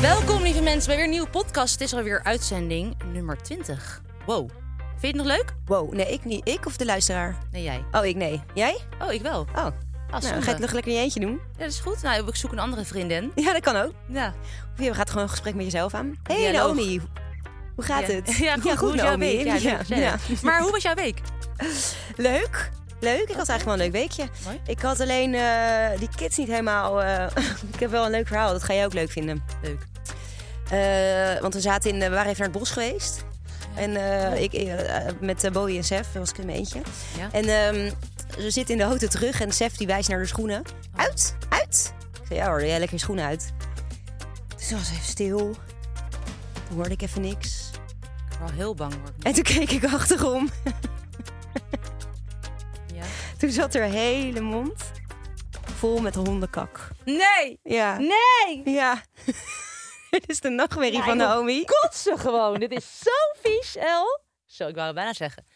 Welkom lieve mensen bij weer een nieuwe podcast. Het is alweer uitzending nummer 20. Wow. Vind je het nog leuk? Wow, nee, ik niet. Ik of de luisteraar? Nee, jij. Oh, ik nee. Jij? Oh, ik wel. Oh. Ah, nou, zonde. ga je het nog lekker in je eentje doen? Ja, dat is goed. Nou, ik zoek een andere vriendin. Ja, dat kan ook. Ja. Of je gaat gewoon een gesprek met jezelf aan. Hé, hey, Dialoog. Naomi. Hoe gaat Ja. het? Ja, goed. hoe is jouw Naomi. week? Ja, leuk te zeggen. Maar hoe was jouw week? Leuk. Leuk. Ik had eigenlijk wel een leuk weekje. Mooi. Ik had alleen eh, die kids niet helemaal... eh, ik heb wel een leuk verhaal. Dat ga jij ook leuk vinden. Leuk. Eh, want we, zaten in, eh, we waren even naar het bos geweest. En eh, ik, eh, eh, met eh, Bowie en Sef, daar was ik in mijn eentje. Oh. Ja. En ehm, ze zitten in de auto terug en Sef die wijst naar de schoenen. Oh. Uit, uit. Ik zei, ja hoor, doe jij lekker je schoenen uit. Dus toen was even stil. Toen hoorde ik even niks. Ik ben wel heel bang hoor. En toen keek ik achterom. Ja. Toen zat er hele mond vol met hondenkak. Nee! Ja. Nee! Ja. Dit is de nachtmerrie van Naomi. Kotsen gewoon. Dit is zo vies, El. Zo, ik wou het bijna zeggen.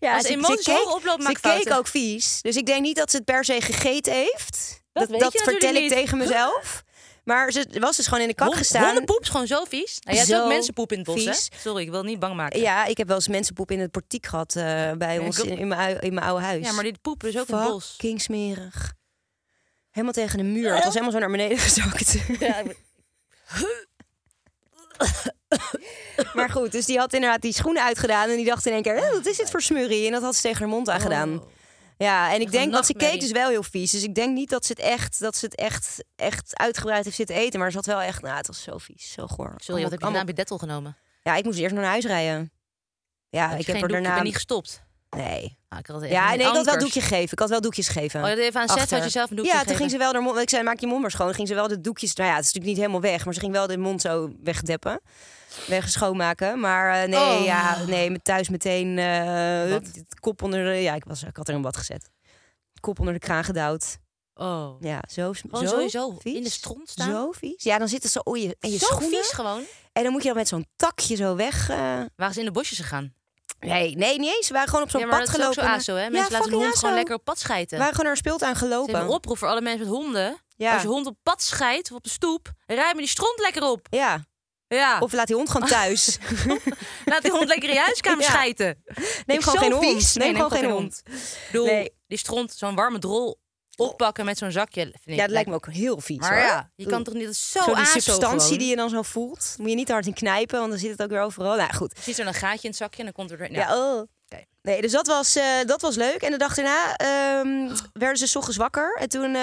Ja, Als emoties keek- hoog oplopen, Ze maak fouten. keek ook vies. Dus ik denk niet dat ze het per se gegeten heeft. Dat weet je vertel ik natuurlijk niet. tegen mezelf. Maar ze was dus gewoon in de kak Hond- gestaan. Hondenpoep is gewoon zo vies. Nou, jij hebt Zo ook mensenpoep in het bos, vies. hè? Sorry, ik wil het niet bang maken. Ja, ik heb wel eens mensenpoep in het portiek gehad eh, bij ons ik ook. in, in mijn, ui- in mijn oude huis. Ja, maar dit poep is ook in het bos. Fucking smerig. Helemaal tegen de muur. Het was helemaal zo naar beneden gezakt. maar goed, dus die had inderdaad die schoenen uitgedaan. En die dacht in één keer, "Eh, wat is dit voor smurrie? En dat had ze tegen haar mond aangedaan. Ja, en ik denk, want ze keek Oh. nachtmerrie. dus wel heel vies. Dus ik denk niet dat ze het echt, dat ze het echt, echt uitgebreid heeft zitten eten. Maar ze had wel echt, nou, het was zo vies, zo goor. Sorry, wat heb je Allemaal- daarna bij Dettel genomen? Ja, ik moest eerst nog naar huis rijden. Ja, Had Ah, ik je geen heb er doekje? Ik daarna... ben niet gestopt. Nee. Ah, ik had echt Ja, een nee, ik had wel ankers. doekje gegeven. Ik had wel doekjes gegeven. Oh, je had even aan Seth, Achter. had je zelf een doekje Ja, toen gegeven? ging ze wel haar mond... Ik zei, maak je mond maar schoon. Ging ze wel de doekjes... Nou ja, het is natuurlijk niet helemaal weg. Maar ze ging wel de mond zo wegdeppen. Weg schoonmaken. Maar eh, nee, Oh. ja, nee, met thuis meteen... eh, Wat? het kop onder de... Ja, ik, was, ik had er een wat gezet. Kop onder de kraan gedouwd. Oh. Ja, zo, Gewoon zo sowieso vies. in de stront staan. Zo vies. Ja, dan zitten ze in je, in je zo schoenen. vies gewoon. En dan moet je dan met zo'n takje zo weg... eh, Waren ze in de bosjes gegaan? Nee, nee, niet eens. We waren gewoon op zo'n ja, maar pad dat is ook gelopen. zo aso, hè? Mensen laten hun fucking hond gewoon aso. lekker op pad schijten. We waren gewoon naar een speeltuin Ze hebben gelopen. een oproep voor alle mensen met honden. Ja. Als je hond op pad scheidt of op de stoep, rij me die stront lekker op. Ja. Ja. Of laat die hond gewoon thuis. laat die hond lekker in je huiskamer Ja. schijten. Neem Ik gewoon zo geen hond. vies. Neem Nee, gewoon geen hond. Ik bedoel, Nee. die stront, zo'n warme drol oppakken met zo'n zakje. Vind ik, Ja, dat lijkt me ook heel vies. Maar hoor. ja, je kan toch niet... Dat is zo zo die aso substantie gewoon. die je dan zo voelt, moet je niet te hard in knijpen, want dan zit het ook weer overal. Nou goed. Er zit zo'n gaatje in het zakje en dan komt er... Nou, Ja, oh. Oké. Nee, dus dat was, eh, dat was leuk. En de dag daarna ehm, werden ze 's ochtends wakker. En toen eh,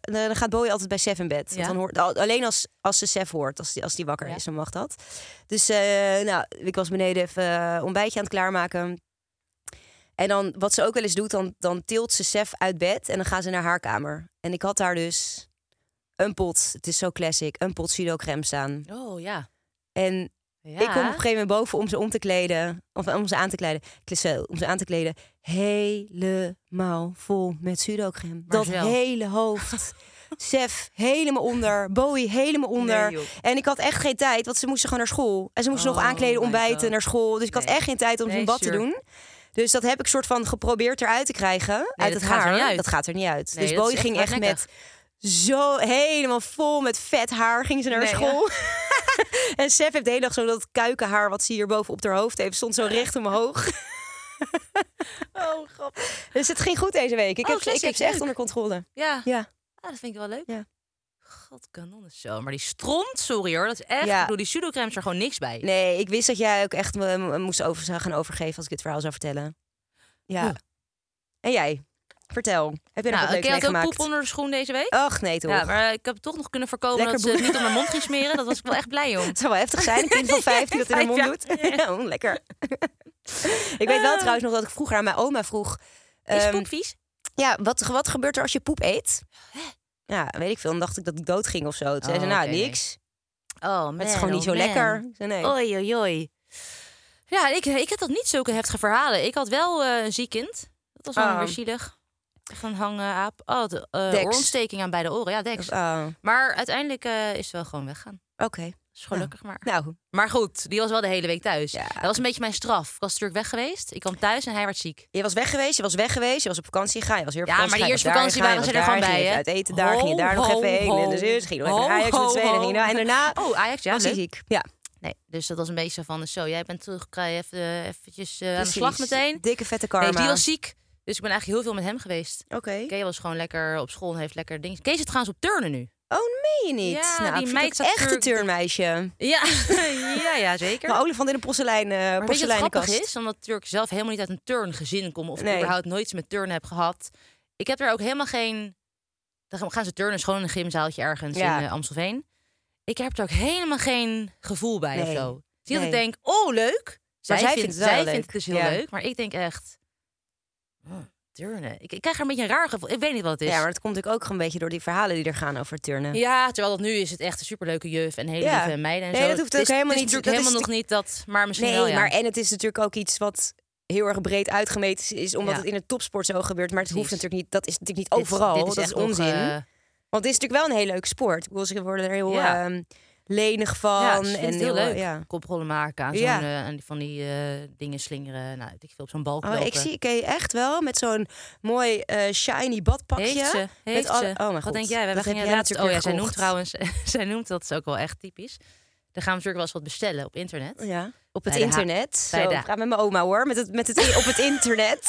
dan gaat Bowie altijd bij Sef in bed. Want Ja. dan hoort, al- alleen als, als ze Sef hoort, als die, als die wakker Ja. is, dan mag dat. Dus eh, nou, ik was beneden even eh, ontbijtje aan het klaarmaken. En dan, wat ze ook wel eens doet, dan, dan tilt ze Sef uit bed en dan gaan ze naar haar kamer. En ik had daar dus een pot, het is zo classic, een pot pseudocreme staan. Oh, ja. En ja. ik kom op een gegeven moment boven om ze om te kleden. Of om ze aan te kleden. Ik lees zo, om ze aan te kleden. Helemaal vol met sudocreme. Dat Marcel. hele hoofd. Sef helemaal onder. Bowie helemaal onder. Nee, joh. en ik had echt geen tijd, want ze moesten gewoon naar school. En ze moesten Oh nog aankleden, my ontbijten, God. naar school. Dus ik Nee. had echt geen tijd om Nee, hun bad sure. te doen. Dus dat heb ik soort van geprobeerd eruit te krijgen. dat uit het gaat er haar. niet uit. Dat gaat er niet uit. Nee, dus dat is Bowie echt ging echt met hardnekkig. zo helemaal vol met vet haar ging ze naar Nee, school. en Sef heeft de hele dag zo dat kuikenhaar wat ze hier boven op haar hoofd heeft, stond zo recht omhoog. Oh, grappig. Dus het ging goed deze week. Ik, Oh, heb, ze- ik classic, heb ze echt leuk. onder controle. Ja. Ja. Ah, dat vind ik wel leuk. Ja. God, kanon is zo. Maar die stront, sorry hoor, dat is echt... Ja. Ik bedoel, die pseudocrème is er gewoon niks bij. Nee, ik wist dat jij ook echt me, me moest over, zou gaan overgeven als ik dit verhaal zou vertellen. Ja. Oeh. En jij? Vertel. Heb je nog Oh. nou, ik wat leuks had ook meegemaakt? poep onder de schoen deze week. Och, nee toch. Ja, maar ik heb toch nog kunnen voorkomen Lekker dat ze het boe- niet op mijn mond ging smeren. Dat was ik wel echt blij om. Het zou wel heftig zijn, een kind van vijf die dat in haar mond Vijf doet. Ja, oh, lekker. ik weet wel trouwens nog dat ik vroeger aan mijn oma vroeg... Ah. Is ehm, poep vies? ja, wat, wat gebeurt er als je poep eet? Ja, weet ik veel. Dan dacht ik dat ik dood ging of zo. Toen zei ze, Oh, nou, oké, nee. niks. Oh, man, Het is gewoon niet oh, zo man. Oh, lekker. Ik zei, nee. Oei, oei, oei. Ja, ik, ik had dat niet zulke heftige verhalen. Ik had wel eh, een ziek kind. Dat was wel Ah. weer zielig. Echt een hangaap. Oh, de, eh, Deks. oorontsteking aan beide oren. Ja, deks. Oh, Maar uiteindelijk eh, is het wel gewoon weggaan. Oké. Is gelukkig maar. Nou, Maar goed, die was wel de hele week thuis. Ja. Dat was een beetje mijn straf. Ik was natuurlijk weg geweest. Ik kwam thuis en hij werd ziek. je was weg geweest, je was weg geweest, je was op vakantie gegaan, je was weer op Ja, vakantie maar die eerste gegaan, je was vakantie daar waren ze er gegaan, gewoon je was bij, daar, hè? ging je even uit eten daar, ging je daar nog Ho, even heen. ho, En de zus ging nog even ho, naar Ajax met ho, tweede, ging je daar- en daarna Oh, Ajax, ja. was hij leuk. ziek. Ja, Nee, dus dat was een beetje van zo. Jij bent terug, ga je even, eh, eventjes eh, aan de slag precies. meteen. Dikke vette Nee, karma. die was ziek. Dus ik ben eigenlijk heel veel met hem geweest. Oké. Kees was gewoon lekker op school en heeft lekker dingen. Kees zit trouwens op turnen nu. Oh, meen je niet? Ja, nou, die ik vind meid het zat echt een natuurlijk- turnmeisje. Ja, ja, ja zeker. Een olifant in een porselein, eh, Maar weet je wat porseleinenkast. grappig is? Omdat natuurlijk ik zelf helemaal niet uit een turngezin kom... of Nee. überhaupt nooit iets met turnen heb gehad. Ik heb er ook helemaal geen... Dan gaan- gaan ze turnen, is gewoon een gymzaaltje ergens Ja. in eh, Amstelveen. Ik heb er ook helemaal geen gevoel bij Nee. of zo. Zie je dat Nee. ik denk, oh leuk. Zij, zij vindt, vindt het wel zij leuk. vindt het dus heel Ja. leuk. Maar ik denk echt... oh, turnen. Ik, ik krijg er een beetje een raar gevoel. Ik weet niet wat het is. Ja, maar dat komt natuurlijk ook gewoon een beetje door die verhalen die er gaan over turnen. Ja, terwijl dat nu is het echt een superleuke juf en hele Ja. lieve meiden en Nee, zo. dat hoeft Het ook is- helemaal het is natuurlijk niet- dat is helemaal nog niet dat, maar misschien Nee, wel ja. maar en het is natuurlijk ook iets wat heel erg breed uitgemeten is, omdat Ja. het in de topsport zo gebeurt. Maar het hoeft Precies. natuurlijk niet, dat is natuurlijk Dit- niet overal. dit dat echt is nog, onzin. eh, Want het is natuurlijk wel een heel leuk sport. Ik bedoel, ze worden er heel Ja. ehm, lenig van. ja, ze vindt en eh, het heel leuk. Ja. Koprollen maken aan, Ja. zo'n, eh, aan die- van die eh, dingen slingeren. Nou, weet ik veel op zo'n balk Oh, lopen. ik zie Kay echt wel met zo'n mooi eh, shiny badpakje. Heeft ze? Heeft met alle- ze? Oh mijn god. Wat denk jij? We dat heb gingen jij laatst... Oh ja, zij weer noemt gekocht. trouwens... zij noemt, dat is ook wel echt typisch. Dan gaan we natuurlijk wel eens wat bestellen op internet. Oh Ja. Op het Bij de ha- internet. Zo, bij de- ik praat met mijn oma hoor. Met het, met het, op het internet.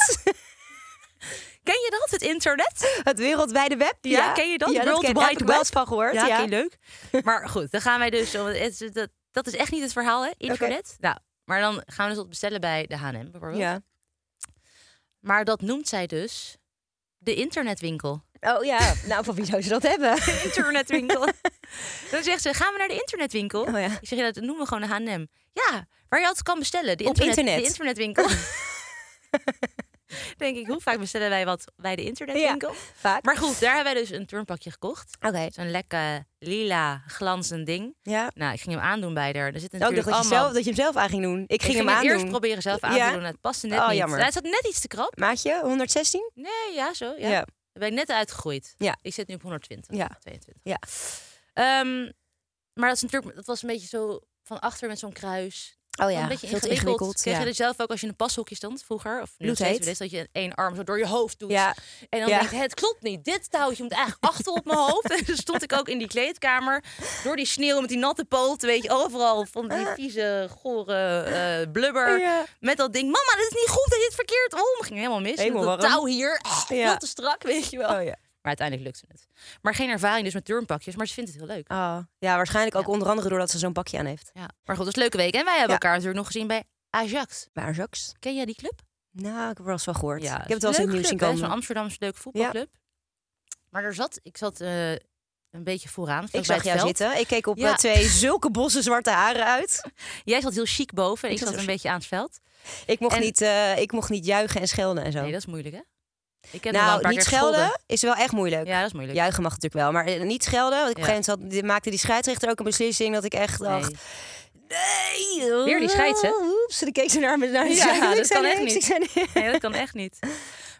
Ken je dat, het internet? het wereldwijde web. Ja, ken je dat? Ja, World ken- Wide heb ik wel eens Web? van gehoord. Ja, oké, leuk. maar goed, dan gaan wij dus... want het is- Dat, dat is echt niet het verhaal, hè? Internet. Nou, maar dan gaan we dus wat bestellen bij de H&M bijvoorbeeld. Ja. Maar dat noemt zij dus de internetwinkel. Oh ja, nou van wie zou ze dat hebben? internetwinkel. dan zegt ze, gaan we naar de internetwinkel? Oh ja. Ik zeg, ja, dat noemen we gewoon een H&M. Ja, waar je altijd kan bestellen. De Op internet. De internetwinkel. Denk ik, hoe vaak bestellen wij wat bij de internetwinkel? Vaak. Maar goed, daar hebben wij dus een turnpakje gekocht. Oké. Zo'n lekker lila, glanzend ding. Ja. Nou, ik ging hem aandoen bij haar. Er zit natuurlijk Ook Nou, dat je, allemaal... zelf, dat je hem zelf aan ging doen. Ik ik ging hem het aan eerst proberen zelf aan te doen. en Het paste net Oh, niet. jammer. Nou, het zat net iets te krap. Maatje, 116? Nee, ja, zo. Ja. Ja. Daar Oh, ben ik net uitgegroeid. Ja. Ik zit nu op 120, Ja. 22. Ja. Ehm, maar dat, is natuurlijk, dat was een beetje zo van achter met zo'n kruis. Oh een beetje ingewikkeld. Kreeg Ja. je er zelf ook als je in een pashokje stond vroeger? Of nu nog steeds Bloedheet. wel eens, dat je één arm zo door je hoofd doet. Ja. En dan Ja. denk je, het klopt niet. Dit touwtje moet eigenlijk achter op mijn hoofd. En toen stond ik ook in die kleedkamer. Door die sneeuw met die natte poten. Weet je, overal van die vieze, gore eh, blubber. Ja. Met dat ding. Mama, dit is niet goed. Dit is verkeerd om. Ging helemaal mis. Helemaal dat warm. touw hier. Ah, Ja. Veel te strak, weet je wel. Oh ja. Maar uiteindelijk lukte het. Maar geen ervaring dus met turnpakjes. Maar ze vindt het heel leuk. Oh. ja, waarschijnlijk ook onder andere doordat ze zo'n pakje aan heeft. Ja. Maar goed, dat is een leuke week. En wij hebben Ja. elkaar natuurlijk nog gezien bij Ajax. Waar Jacques? Ken jij die club? Nou, ik heb er wel eens van gehoord. Ja, ik heb het wel eens in het leuk nieuws zien club, hè? komen. Zo'n Amsterdamse leuke voetbalclub. Maar er zat, ik zat eh, een beetje vooraan. Ik vlakbij zag het jou veld. zitten. Ik keek op Ja. eh, twee zulke bossen zwarte haren uit. Jij zat heel chic boven. en Ik, zat zat heel een beetje aan het veld. Ik mocht, En- niet, eh, ik mocht niet juichen en schelden en zo. Nee, dat is moeilijk, hè? Ik heb nog wel een nou, paar niet keer schelden gescholden. is wel echt moeilijk. Ja, dat is moeilijk. Juichen mag natuurlijk wel, maar eh, niet schelden. Want op een Ja. gegeven moment had- maakte die scheidsrechter ook een beslissing dat ik echt Nee. dacht... Nee! Weer die scheids, hè? Oeps, dan keek ze naar me. Naar Ja, ik dat zei kan echt niks, niet. ik zei niks. Nee, dat kan echt niet.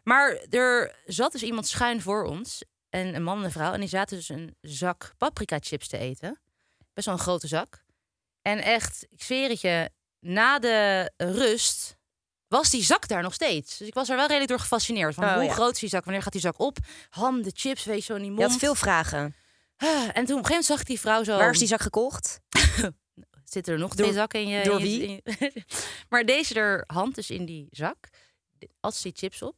Maar er zat dus iemand schuin voor ons. En een man en een vrouw. En die zaten dus een zak paprika chips te eten. Best wel een grote zak. En echt, ik zweer het je, na de rust was die zak daar nog steeds. Dus ik was er wel redelijk door gefascineerd. Van Oh, hoe ja. groot is die zak? Wanneer gaat die zak op? Ham, de chips, weet je zo in die Je mond. had veel vragen. Ah, En toen op een gegeven moment zag ik die vrouw zo... Waar is die zak gekocht? Zitten er nog Door- twee zakken in je... door in je- wie? in je- maar deze er hand dus in die zak. De- At ze die chips op.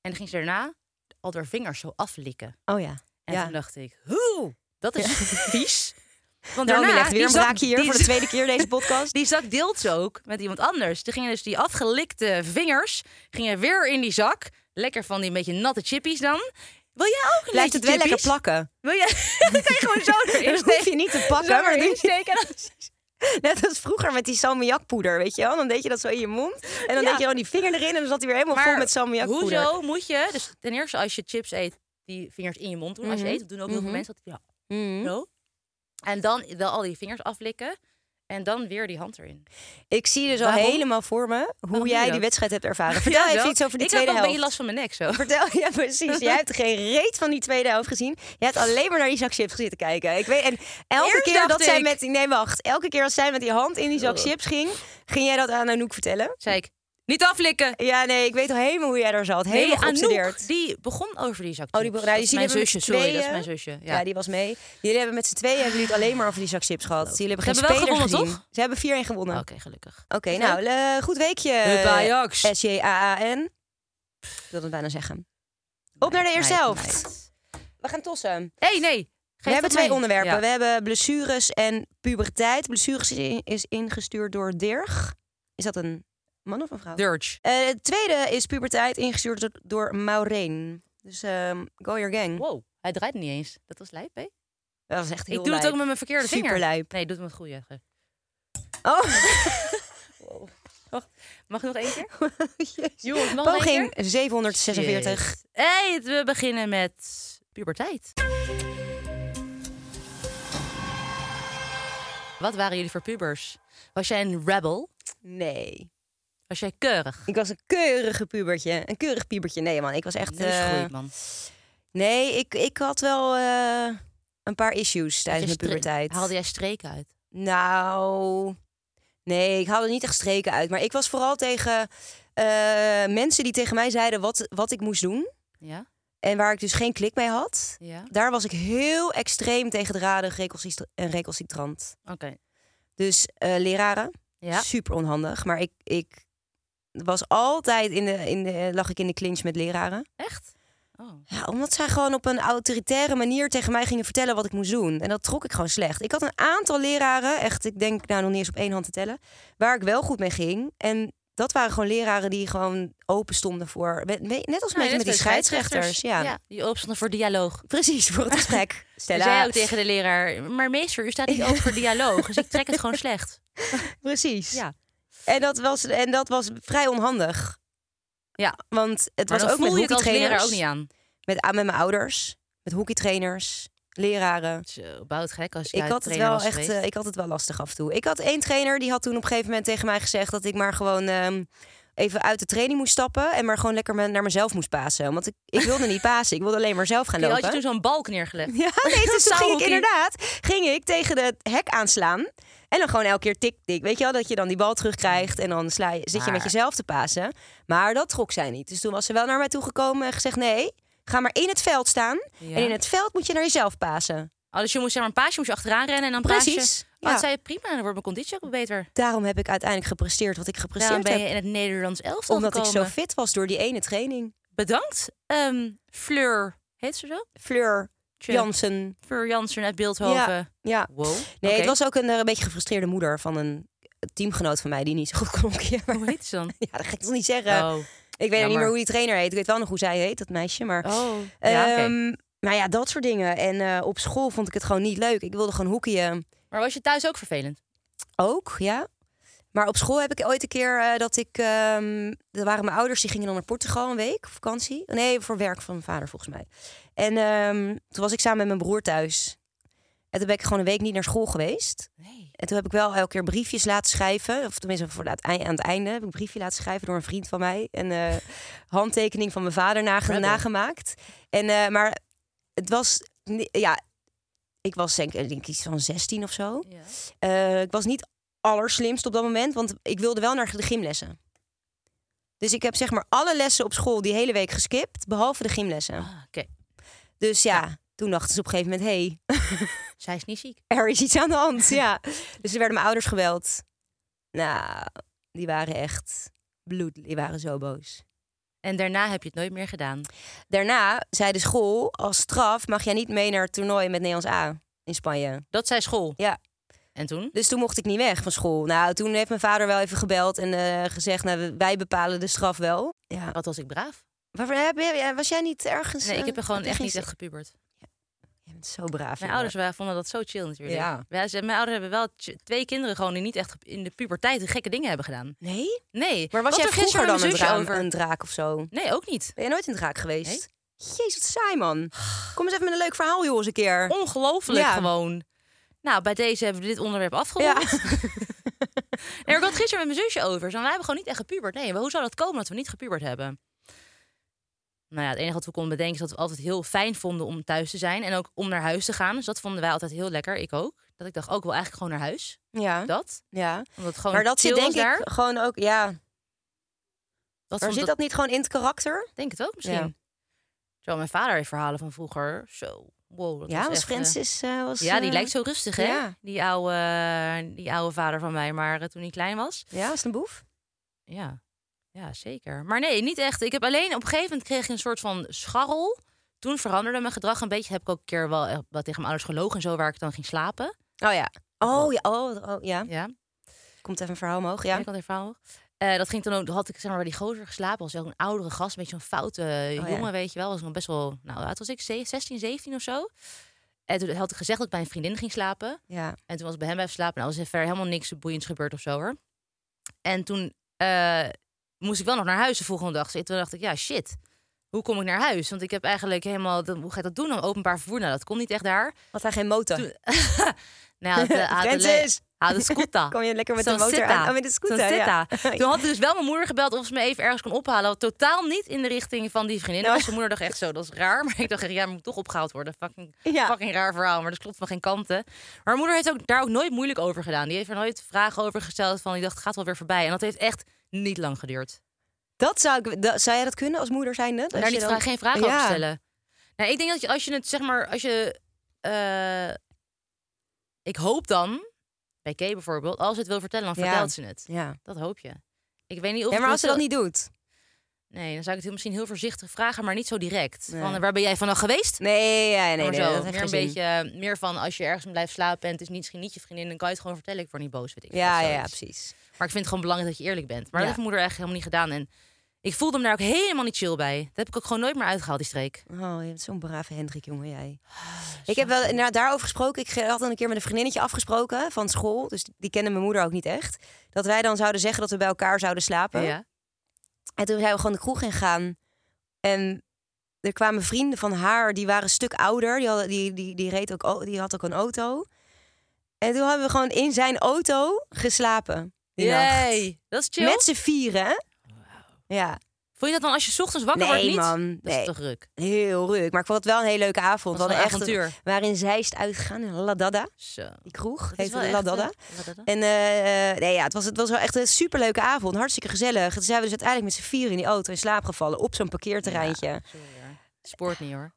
En dan ging ze daarna al haar vingers zo aflikken. Oh ja. En ja. toen dacht ik, hoe? Dat is vies. Want Naomi daarna, legt weer die een zak- braakje hier die voor de zak- tweede keer deze podcast. Die zak deelt ze ook met iemand anders. Die gingen dus die afgelikte vingers gingen weer in die zak. Lekker van die beetje natte chippies dan. Wil jij ook Blijft het wel lekker plakken? plakken. Wil jij? dat kan je gewoon zo erin Dat hoef je steken. niet te Zo pakken. Maar dat erin doe je- steken. en dan- net als vroeger met die salmiakpoeder, weet je wel? Dan deed je dat zo in je mond. Ja. En dan deed je gewoon die vinger erin en dan zat hij weer helemaal vol met salmiakpoeder. Hoezo moet je? Dus ten eerste als je chips eet, die vingers in je mond doen. Als je Mhm. eet, dat doen ook heel veel Mhm. mensen dat ja, Mhm. zo. En dan wel al die vingers aflikken en dan weer die hand erin. Ik zie dus al Waarom? helemaal voor me hoe doe je jij dat? die wedstrijd hebt ervaren. Vertel Ja, even zo. iets over die ik tweede heb wel een beetje helft. last van mijn nek zo. Vertel, ja precies. Jij hebt geen reet van die tweede helft gezien. Je hebt alleen maar naar die zak chips zitten kijken. Ik weet, en elke Eerst keer dacht dat zij ik- met... Nee, wacht. Elke keer als zij met die hand in die zak Oh. chips ging... ging jij dat aan Anouk vertellen? Zei ik, niet aflikken. Ja, nee, ik weet al helemaal hoe jij daar zat. Helemaal Nee, geobsedeerd. Anouk, die begon over die zak Oh, die chips. begon- nou, Dat die is zien mijn we met zusje, z'n sorry, dat is tweeën. mijn zusje. Ja. Ja. die was mee. Jullie hebben met z'n tweeën hebben jullie het alleen maar over die zak chips gehad. Jullie hebben geen Ze hebben wel speler gewonnen, gezien. Ze hebben 4-1 gewonnen. Oké, Oké, gelukkig. nou, eh, goed weekje. Hup, Ajax. S-J-A-A-N. Ik wilde het bijna zeggen. Op naar de eerste Meid, helft. meid. We gaan tossen. hey, nee. Geef We hebben dat twee mee. onderwerpen. Ja. We hebben blessures en puberteit. Blessures is in- is ingestuurd door Dirg. Is dat een man of een vrouw? Dirge. Eh, het tweede is puberteit, ingestuurd do- door Maureen. Dus ehm, go your gang. Wow, hij draait niet eens. Dat was lijp, hè? Dat was echt heel Ik doe het lijp. ook met mijn verkeerde vinger. Superlijp. Nee, doe het met mijn goede. Oh, Mag ik nog één keer? jezus. Jongens, mag ik nog één Poging keer? 746. Shit. Hey, we beginnen met puberteit. Wat waren jullie voor pubers? Was jij een rebel? Nee. Was jij keurig? Ik was een keurige pubertje. Een keurig pubertje. Nee, man. Ik was echt... Neus eh, groeit, man. nee, ik, ik had wel eh, een paar issues tijdens Had mijn je stre- puberteit. Haalde jij streken uit? Nou, nee, ik haalde niet echt streken uit. Maar ik was vooral tegen eh, mensen die tegen mij zeiden wat, wat ik moest doen. Ja? En waar ik dus geen klik mee had. Ja? Daar was ik heel extreem tegen dradig reconcist- en recalcitrant. Oké. Dus eh, leraren, Ja? super onhandig. Maar ik, ik was altijd in de, in de, lag ik in de clinch met leraren. Echt? Oh. Ja, omdat zij gewoon op een autoritaire manier tegen mij gingen vertellen wat ik moest doen. En dat trok ik gewoon slecht. Ik had een aantal leraren, echt, ik denk nou nog niet eens op één hand te tellen, waar ik wel goed mee ging. En dat waren gewoon leraren die gewoon open stonden voor. we- we- Net als mensen met die scheidsrechters. Ja. Die opstonden voor dialoog. precies, voor het gesprek. Ze Stella. zei Dus ook tegen de leraar, maar meester, u staat niet open voor dialoog. Dus ik trek het gewoon slecht. Precies. Ja. En, dat was, en dat was vrij onhandig. Ja. Want het Maar was dan ook met voel je het als leraar hockeytrainers. ook niet aan. Met, met mijn ouders, met hockeytrainers, leraren. Zo, bouwt gek als jij ik had het trainer wel was echt, geweest. eh, ik had het wel lastig af en toe. Ik had één trainer die had toen op een gegeven moment tegen mij gezegd dat ik maar gewoon ehm, even uit de training moest stappen en maar gewoon lekker me- naar mezelf moest pasen. Want ik, ik wilde niet pasen, ik wilde alleen maar zelf gaan Die had je toen lopen. zo'n balk neergelegd. Ja, nee, dus toen ging ik Zaalhockey. inderdaad ging ik tegen het hek aanslaan. En dan gewoon elke keer tik, tik. Weet je wel, dat je dan die bal terugkrijgt en dan sla je, zit je met Maar- jezelf te pasen. Maar dat trok zij niet. Dus toen was ze wel naar mij toegekomen en gezegd, nee, ga maar in het veld staan. Ja. En in het veld moet je naar jezelf pasen. Oh, dus je moest zeg maar een paasje, moest je achteraan rennen en dan Precies, paasje. Oh, dat ja. zei je prima, dan wordt mijn conditie ook beter. Daarom heb ik uiteindelijk gepresteerd wat ik Daarom gepresteerd ben heb. je in het Nederlands elftal Omdat ik gekomen. zo fit was door die ene training. Bedankt, Ehm, Fleur. Heet ze zo? Fleur Tje. Jansen. Fleur Jansen uit Beeldhoven. Ja. Ja. Wow. Nee, Oké. het was ook een, eh, een beetje gefrustreerde moeder van een teamgenoot van mij die niet zo goed kon hockey. Hoe heet ze dan? Ja, dat ga ik toch niet zeggen. Oh, ik weet ook niet jammer. meer hoe die trainer heet. Ik weet wel nog hoe zij heet, dat meisje. Maar, oh. Ja, oké. Ehm, maar ja, dat soort dingen. En eh, op school vond ik het gewoon niet leuk. Ik wilde gewoon hockeyen. Maar was je thuis ook vervelend? Ook, ja. Maar op school heb ik ooit een keer eh, dat ik... ehm er waren mijn ouders, die gingen dan naar Portugal een week op vakantie. Nee, voor werk van mijn vader volgens mij. En ehm, toen was ik samen met mijn broer thuis. En toen ben ik gewoon een week niet naar school geweest. Nee. En toen heb ik wel elke keer briefjes laten schrijven. Of tenminste, voor het ei- aan het einde heb ik een briefje laten schrijven door een vriend van mij. En eh, handtekening van mijn vader nage- Rebel. nagemaakt. En, eh, maar het was... ni- Ja, ik was denk ik denk iets van 16 of zo. Ja. Eh, ik was niet allerslimst op dat moment, want ik wilde wel naar de gymlessen. Dus ik heb zeg maar alle lessen op school die hele week geskipt, behalve de gymlessen. Ah, Oké. Dus ja, toen dachten ze op een gegeven moment, hé, Zij is niet ziek. hey, er is iets aan de hand. ja. Dus er werden mijn ouders geweld. Nou, die waren echt bloed, die waren zo boos. En daarna heb je het nooit meer gedaan. Daarna zei de school, als straf mag jij niet mee naar het toernooi met Nederlands A. in Spanje. Dat zei school. Ja. En toen? Dus toen mocht ik niet weg van school. Nou, toen heeft mijn vader wel even gebeld en eh, gezegd, nou, wij bepalen de straf wel. Ja. Wat was ik braaf? Waarvoor heb je, was jij niet ergens? Nee, ik heb er eh, gewoon had je echt geen niet zin- echt gepubert. Je bent zo braaf. Mijn jongen. ouders waren, vonden dat zo chill natuurlijk. Ja. Wij, ze- mijn ouders hebben wel t- twee kinderen gewoon die niet echt ge- in de puberteit gekke dingen hebben gedaan. Nee? Nee. Maar Ik was jij had er vroeger gisteren dan met een, mijn zusje draak- een draak of zo? Nee, ook niet. Ben je nooit een draak geweest? Jezus, wat saai man. Kom eens even met een leuk verhaal, joh, eens een keer. Ongelooflijk Ja. gewoon. Nou, bij deze hebben we dit onderwerp afgerond. Ja. Nee, maar ik had het gisteren met mijn zusje over. Zo, wij hebben gewoon niet echt gepubert. Nee, maar hoe zou dat komen dat we niet gepubert hebben? Nou ja, het enige wat we konden bedenken is dat we altijd heel fijn vonden om thuis te zijn. En ook om naar huis te gaan. Dus dat vonden wij altijd heel lekker. Ik ook. Dat ik dacht, ook wel eigenlijk gewoon naar huis. Ja. Dat. ja. Omdat het gewoon Maar dat chill zit denk was daar. ik gewoon ook, ja. Dat Maar vond zit dat- dat niet gewoon in het karakter? denk het ook misschien. Ja. Zo, mijn vader heeft verhalen van vroeger. Zo, wow. Dat ja, was, was echt, eh, Francis... eh, was, ja, die eh, lijkt zo rustig, hè? ja. Die, oude, eh, die oude vader van mij, maar eh, toen hij klein was. Ja, was het een boef? Ja. ja, zeker. Maar nee, niet echt. Ik heb alleen op een gegeven moment kreeg ik een soort van scharrel. Toen veranderde mijn gedrag een beetje. Heb ik ook een keer wel eh, wat tegen mijn ouders gelogen en zo, waar ik dan ging slapen. Oh ja. Oh ja, oh, oh, ja. Ja, Komt even een verhaal omhoog, ja. ja. ik had verhaal. Eh, dat ging toen ook, had ik zeg maar bij die gozer geslapen. Was ook een oudere gast, een beetje zo'n foute eh, ja. jongen, weet je wel. Was nog best wel, nou, hoe oud was ik? Ze- 16, 17 of zo. En toen had ik gezegd dat ik bij een vriendin ging slapen. Ja, En toen was ik bij hem blijven slapen. Nou, was er verder helemaal niks boeiends gebeurd of zo hoor. En toen eh, moest ik wel nog naar huis de volgende dag. Dus Toen dacht ik, ja shit, hoe kom ik naar huis? Want ik heb eigenlijk helemaal, dat- hoe ga ik dat doen? Een openbaar vervoer, nou dat kon niet echt daar. had hij geen motor? Toen- Nou, ja, had, eh, had, de, Francis! had de scooter. Kom je lekker met de Zo'n motor sitta. aan? Oh, met de scooter, Zo'n ja. sitta. Toen had dus wel mijn moeder gebeld of ze me even ergens kon ophalen. Wat Totaal niet in de richting van die vriendin. Nou. was. Mijn moeder dacht echt zo, dat is raar. Maar ik dacht echt, ja, moet toch opgehaald worden. Fucking, Ja. fucking raar verhaal, maar dat klopt van geen kanten. Maar mijn moeder heeft ook, daar ook nooit moeilijk over gedaan. Die heeft er nooit vragen over gesteld van, die dacht, het gaat wel weer voorbij. En dat heeft echt niet lang geduurd. Dat zou ik... Dat, zou jij dat kunnen als moeder zijnde? Dat daar je niet dan- vra- geen vragen over Ja. stellen. Nou, ik denk dat je, als je het, zeg maar, als je... eh, ik hoop dan, bij Kay bijvoorbeeld, als ze het wil vertellen, dan Ja. vertelt ze het. Ja. Dat hoop je. Ik weet niet of ja, het maar als ze wel- dat niet doet? Nee, dan zou ik het heel- misschien heel voorzichtig vragen, maar niet zo direct. Nee. Van, waar ben jij vanaf geweest? Nee, ja, nee, nee. maar nee, zo, dat heeft meer geen een zin. beetje eh, meer van als je ergens blijft slapen en het is niet, misschien niet je vriendin, dan kan je het gewoon vertellen. Ik word niet boos, weet ik. Ja, of ja, zoiets. ja, precies. Maar ik vind het gewoon belangrijk dat je eerlijk bent. Maar dat Ja. heeft mijn moeder eigenlijk helemaal niet gedaan. En ik voelde hem daar ook helemaal niet chill bij. Dat heb ik ook gewoon nooit meer uitgehaald, die streek. Oh, je bent zo'n brave Hendrik, jongen, jij. Ah, ik heb wel nou, daarover gesproken. Ik had dan een keer met een vriendinnetje afgesproken van school. Dus die kende mijn moeder ook niet echt. Dat wij dan zouden zeggen dat we bij elkaar zouden slapen. Ja. En toen zijn we gewoon de kroeg ingegaan. En er kwamen vrienden van haar, die waren een stuk ouder. Die, hadden, die, die, die, reed ook, o- die had ook een auto. En toen hebben we gewoon in zijn auto geslapen. Die nacht. Yay. Dat is chill. Met z'n vieren. hè? Ja. Vond je dat dan als je 's ochtends wakker nee, wordt niet? man. Dat is Nee. toch ruk. Heel ruk. Maar ik vond het wel een hele leuke avond. Dat was we wel hadden een echt een- avontuur. we waren in Zeist uitgegaan, in La Dada. Zo. Die kroeg Dat is heette wel La echt, Dada. eh, La Dada. En eh, eh, nee, ja, het, was, het was wel echt een superleuke avond. Hartstikke gezellig. Toen zijn we dus uiteindelijk met z'n vieren in die auto in slaap gevallen. Op zo'n parkeerterreintje. Sorry hoor. Spoort niet hoor.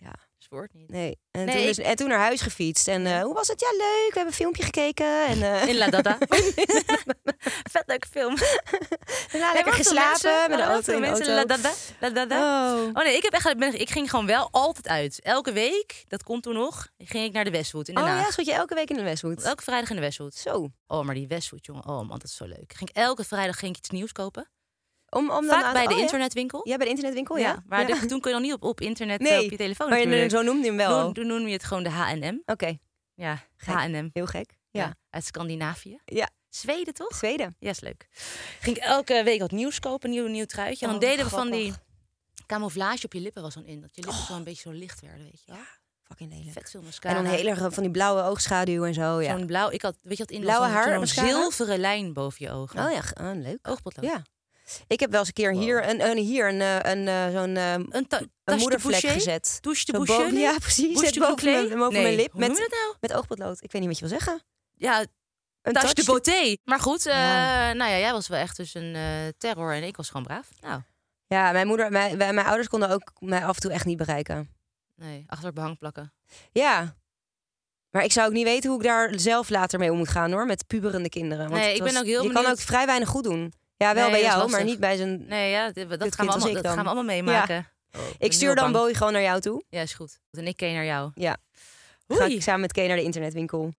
Ja. Spoort niet. Nee. En, Nee, toen ik- dus- en toen naar huis gefietst. En eh, hoe was het? Ja, leuk. We hebben een filmpje gekeken. En eh, In La Dada. Vet leuke film. daarna lekker Heel veel geslapen mensen- met de heel auto veel in de mensen, auto. La, da, da, la, da, da. Oh. Oh nee, ik, heb echt, ben- ik ging gewoon wel altijd uit. Elke week, dat komt toen nog, ging ik naar de Westwood in Den Oh Haag. ja, zat je elke week in de Westwood. Elke vrijdag in de Westwood. Zo. Oh, maar die Westwood, jongen. Oh man, dat is zo leuk. Ging ik elke vrijdag ging ik iets nieuws kopen. Om, om dan Vaak aan- bij de oh, ja. internetwinkel. Ja, bij de internetwinkel, Oh ja. maar Ja. de- toen kon je nog niet op, op internet eh, Nee, op je telefoon maar je- natuurlijk. zo noemde je hem wel. Toen, toen noemde je het gewoon de H&M. Oké, Ja, Gek. H&M. heel gek. Ja. Uit Scandinavië. Ja. Zweden, toch? Zweden. Ja, is leuk. Ging ik elke week wat nieuws kopen, nieuw, nieuw truitje. En dan Oh, deden we van grappig. die camouflage op je lippen was dan in. Dat je lippen zo een beetje zo licht werden, weet je wel. Fucking lelijk. Vet veel mascara. En dan heel erg van die blauwe oogschaduw en zo, ja. Zo'n blauw, ik had, weet je wat, in Blauwe zo'n- haar, zo'n mascara? zilveren lijn boven je ogen. Oh ja, ge- oh, leuk. Oogpotlood. Ja. Ik heb wel eens een keer hier een, een, hier een, eh, een, eh, zo'n eh, Een, ta- een tache de moedervlek boucher? gezet. Douche de Zo boucher? boven- ja, precies. Bouche Net de boven bouclé? mijn, boven mijn Nee. lip Hoe noem je met, dat nou? met oogpotlood. Ik weet niet wat je wil zeggen. Ja, Een tache de touch- beauté. Maar goed, eh, Ja. nou ja, jij was wel echt dus een eh, terror en ik was gewoon braaf. Nou, Ja, mijn moeder, mijn, wij- mijn ouders konden ook mij af en toe echt niet bereiken. nee, achter het behang plakken. Ja. Maar ik zou ook niet weten hoe ik daar zelf later mee om moet gaan hoor, met puberende kinderen. Want Nee, het ik ben ook heel Je kan benieuwd- ook vrij weinig goed doen. Ja, wel Nee, bij dat is jou, maar lastig. niet bij zijn. Nee, ja, dit- dat, kind gaan, we als allemaal, ik dat gaan we dan. allemaal meemaken. Oh, ben Ik heel stuur dan bang. Bowie gewoon naar jou toe. Ja, is goed. En ik ken naar jou. Ja. ga Oei. ik samen met Kay naar de internetwinkel.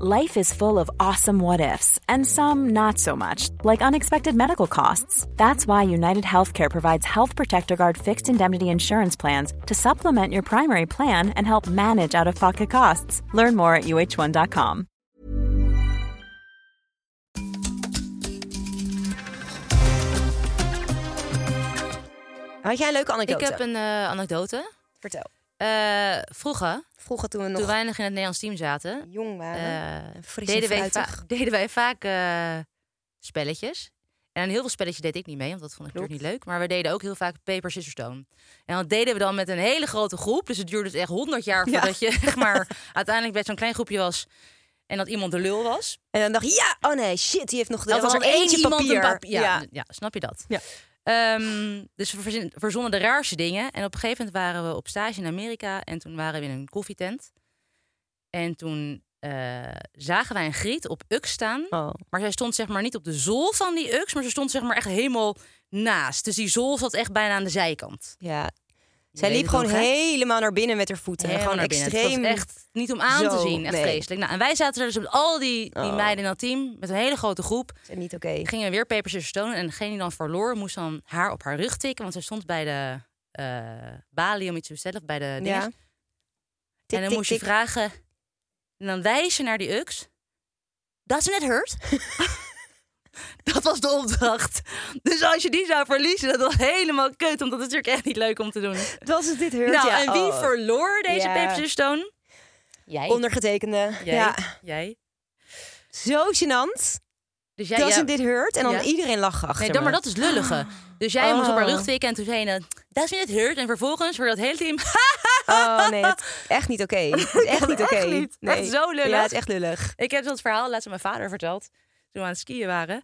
Life is full of awesome what ifs and some not so much, like unexpected medical costs. That's why United Healthcare provides Health Protector Guard fixed indemnity insurance plans to supplement your primary plan and help manage out of pocket costs. Learn more at uh1.com. Had jij een leuke Ik anekdote? heb een eh, anekdote. Vertel. Eh, vroeger, Vroeger toen we nog toen wij nog in het Nederlands team zaten, jong waren. eh, fris en deden, wij fruitig. va- deden wij vaak eh, spelletjes. En aan heel veel spelletjes deed ik niet mee, want dat vond ik Klopt. natuurlijk niet leuk. Maar we deden ook heel vaak paper, scissors, stone. En dat deden we dan met een hele grote groep. Dus het duurde dus echt honderd jaar Ja. voordat je zeg maar, uiteindelijk bij zo'n klein groepje was. En dat iemand de lul was. En dan dacht ik, ja, oh nee, shit, die heeft nog de... Dat was er er één iemand een papier. Ja, Ja. ja. snap je dat? Ja. Ehm, dus we verzin- verzonnen de raarste dingen. En op een gegeven moment waren we op stage in Amerika. En toen waren we in een koffietent. En toen eh, zagen wij een griet op Ux staan. Oh. Maar zij stond zeg maar niet op de zool van die Ux. Maar ze stond zeg maar echt helemaal naast. Dus die zool zat echt bijna aan de zijkant. ja. Je Zij weet liep het gewoon nog, hè? helemaal naar binnen met haar voeten. Helemaal gewoon naar binnen. Het was extreem. echt niet om aan te Zo, zien. Echt nee. vreselijk. Nou, en wij zaten er dus met al die, die Oh. meiden in dat team. Met een hele grote groep. Niet oké. gingen we weer papers scissors stone dus en degene die dan verloor moest dan haar op haar rug tikken, want zij stond bij de eh balie om iets te bestellen of bij de dinges. Ja. en dan moest je vragen en dan wijzen naar die ux. Dat is net hurt. dat was de opdracht. Dus als je die zou verliezen, dat was helemaal kut, want dat is natuurlijk echt niet leuk om te doen. Dat is dit hurt, nou, ja. en wie Oh. verloor deze Ja. papers scissors stone? Jij. Ondergetekende. jij. Ja. jij. Zo gênant. Dus jij dat is ja. in dit hurt. En dan Ja. iedereen lachen achter Nee, dan me. maar dat is lullige. Dus jij moest op haar Oh. rug tikken en toen zei je... Dat is niet het hurt. En vervolgens voor dat hele team... Oh nee, dat is echt niet oké. Het is echt niet oké. Echt niet. Nee. Echt zo lullig. Ja, het is echt lullig. Ik heb dat verhaal laatst aan mijn vader verteld. Toen we aan het skiën waren.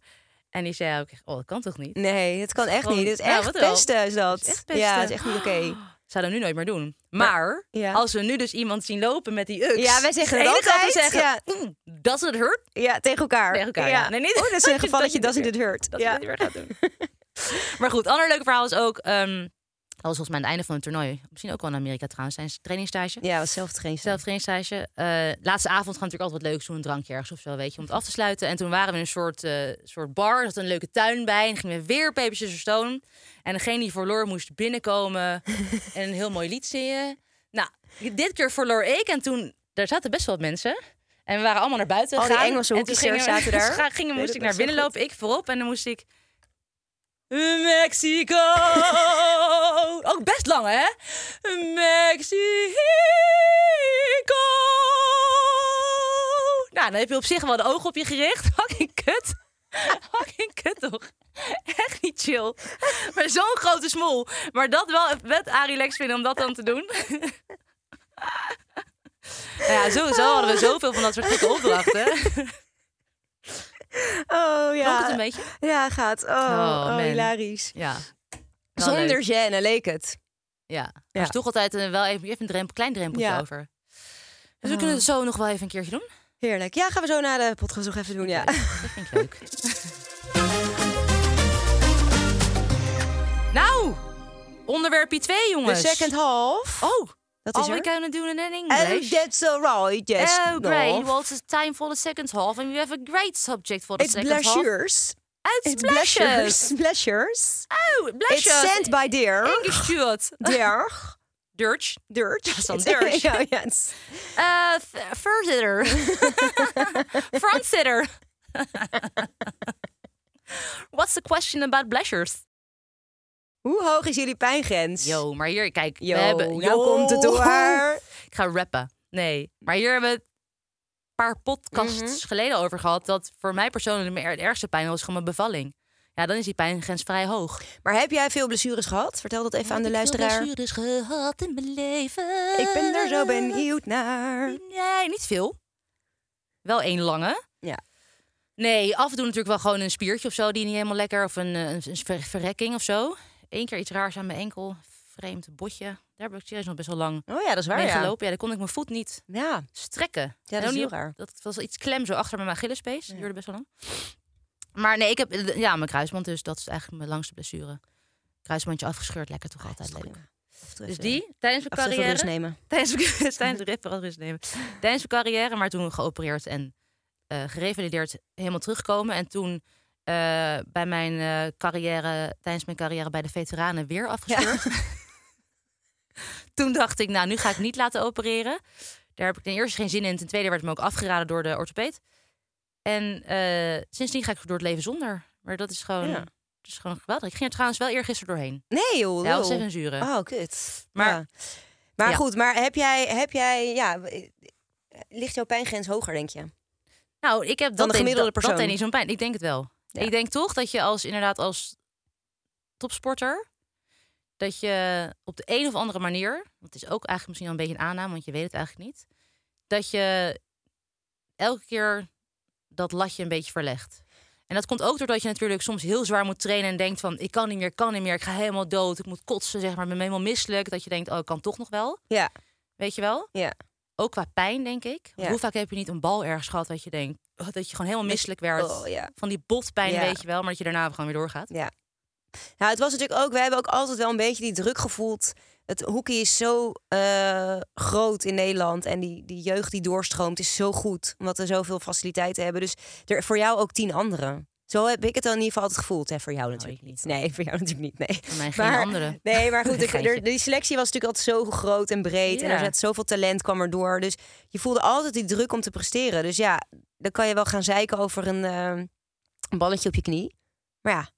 En die zei ook... echt, Oh, dat kan toch niet? Nee, het kan echt Gewoon- niet. Het is Nou, echt wat wel. pesten is dat. Het is echt Ja, pesten. het is echt niet oké. Zou dat nu nooit meer doen. Maar Ja. als we nu dus iemand zien lopen met die ux... Ja, wij zeggen het dat enige wat we altijd. zeggen... "Mm, Dat is het hurt. Ja, tegen elkaar. Tegen elkaar, ja. Nee, niet- Oh, dat is een gevalletje, dat dat je is dit hurt. Dat ja. is weer gaat doen. maar goed, ander leuk verhaal is ook... ehm, dat was volgens mij aan het einde van het toernooi. Misschien ook wel in Amerika trouwens. Zijn trainingstage. Ja, was zelf geen zelf trainingstage. Eh, laatste avond gaan we natuurlijk altijd wat leuks doen. Een drankje ergens of zo, weet je, om het af te sluiten. En toen waren we in een soort, eh, soort bar. Er zat een leuke tuin bij. En gingen we weer Papers, Scissors, Stone. En degene die verloor moest binnenkomen en een heel mooi lied zingen. Nou, dit keer verloor ik. En toen, daar zaten best wel wat mensen. En we waren allemaal naar buiten Al die gegaan. Engelse En toen hockeysterren gingen we- zaten daar. ga- gingen, Weet moest ik ik nog naar zo binnen goed. lopen, ik voorop. En dan moest ik... Mexico. Ook best lang, hè? Mexico. Nou, dan heb je op zich wel de ogen op je gericht. Fucking kut. Fucking kut, toch? Echt niet chill. Met zo'n grote smoel. Maar dat wel met Arie Lex vinden om dat dan te doen. Nou ja, sowieso hadden we zoveel van dat soort gekke opdrachten. Oh ja. Klonk het een beetje? Ja, gaat. Oh, oh, man. hilarisch. Ja. Wel leuk. Zonder gêne leek het. Ja, er is toch altijd eh, wel even, even een drempel, klein drempeltje Ja. Ah. over. Dus we kunnen het zo nog wel even een keertje doen. Heerlijk. Ja, gaan we zo naar de podcast nog even doen, ja. Dat vind ik leuk. nou, onderwerpje 2, De jongens. second half. Oh, dat is all we er. gonna do it in And English. that's alright, yes. oh, great. no. Well, it's time for the second half. And we have a great subject for the It's second half. blessures. It's It's blushes. blessures. Blessures. Oh, blushes. It's sent by dear. English Stuart. Dear. Dutch. Dirt. is dan It's- dirt. ja, ja, it's- Eh, v- voorzitter. Frontzitter. What's the question about blessures? Hoe hoog is jullie pijngrens? Yo, maar hier, kijk. Yo, we hebben, nou komt het Yo. door. Ik ga rappen. Nee, maar hier hebben we het een paar podcasts Mhm. geleden over gehad... dat voor mij persoonlijk de ergste pijn was gewoon mijn bevalling. Ja, dan is die pijngrens vrij hoog. Maar heb jij veel blessures gehad? Vertel dat even aan de luisteraar. Ik heb veel blessures gehad in mijn leven. Ik ben er zo benieuwd naar. Nee, niet veel. Wel één lange. Ja. Nee, af en toe natuurlijk wel gewoon een spiertje of zo die niet helemaal lekker of een, eh, een, een ver- verrekking of zo. Eén keer iets raars aan mijn enkel, vreemd botje. Daar heb ik serieus nog best wel lang Oh ja, dat is waar, mee ja. gelopen. Ja, dan kon ik mijn voet niet Ja, strekken. En dat ook is niet heel raar. Dat was iets klem zo achter mijn Achillespees. Dat duurde best wel lang. Maar nee, ik heb eh, Ah, ja mijn kruisband dus dat is eigenlijk mijn langste blessure. Kruisbandje afgescheurd, lekker toch altijd leuk. Of terug, Dus eh, die, tijdens of mijn ze even rust carrière... nemen. Tijdens, tijdens de rip vooral rust nemen. Tijdens mijn carrière, maar toen geopereerd en eh, gerevalideerd helemaal terugkomen. En toen eh, bij mijn eh, carrière, tijdens mijn carrière bij de veteranen weer afgescheurd. toen dacht ik, nou, nu ga ik niet laten opereren. Daar heb ik ten eerste geen zin in. Ten tweede werd het me ook afgeraden door de orthopeet. En eh, sindsdien ga ik door het leven zonder. Maar dat is gewoon, Ja. dat is gewoon geweldig. Ik ging er trouwens wel eergisteren doorheen. Nee joh, Ja, lul. was even zuren. Oh, kut. Maar- Ja. Maar Ja. goed, maar heb jij, heb jij, ja, eh, ligt jouw pijngrens hoger, denk je? Nou, ik heb dat de deed- gemiddelde dat- persoon. Dat deed niet zo'n pijn. Ik denk het wel. Ja. Ik denk toch dat je als inderdaad als topsporter dat je op de een of andere manier, want het is ook eigenlijk misschien al een beetje een aanname, want je weet het eigenlijk niet, dat je elke keer dat latje een beetje verlegt. En dat komt ook doordat je natuurlijk soms heel zwaar moet trainen en denkt van ik kan niet meer, ik kan niet meer, ik ga helemaal dood, ik moet kotsen, zeg maar, ik ben helemaal misselijk. Dat je denkt, oh, ik kan toch nog wel, Ja, weet je wel? ja. Ook qua pijn, denk ik. Want Ja. Hoe vaak heb je niet een bal ergens gehad dat je denkt... oh, dat je gewoon helemaal misselijk werd. Oh, ja. Van die botpijn Ja. weet je wel, maar dat je daarna gewoon weer doorgaat. Ja. Nou, het was natuurlijk ook, we hebben ook altijd wel een beetje die druk gevoeld. Het hockey is zo eh, groot in Nederland en die, die jeugd die doorstroomt is zo goed, omdat we zoveel faciliteiten hebben. Dus er voor jou ook tien anderen. Zo heb ik het dan in ieder geval altijd gevoeld. Hè, voor jou natuurlijk Nou, ik niet. Nee, voor jou natuurlijk niet. Nee. Voor mij geen andere. Nee, maar goed, ik- Geintje. er- die selectie was natuurlijk altijd zo groot en breed. En Ja. er zat zoveel talent kwam er door. Dus je voelde altijd die druk om te presteren. Dus ja, dan kan je wel gaan zeiken over een, eh, een balletje op je knie. Maar ja,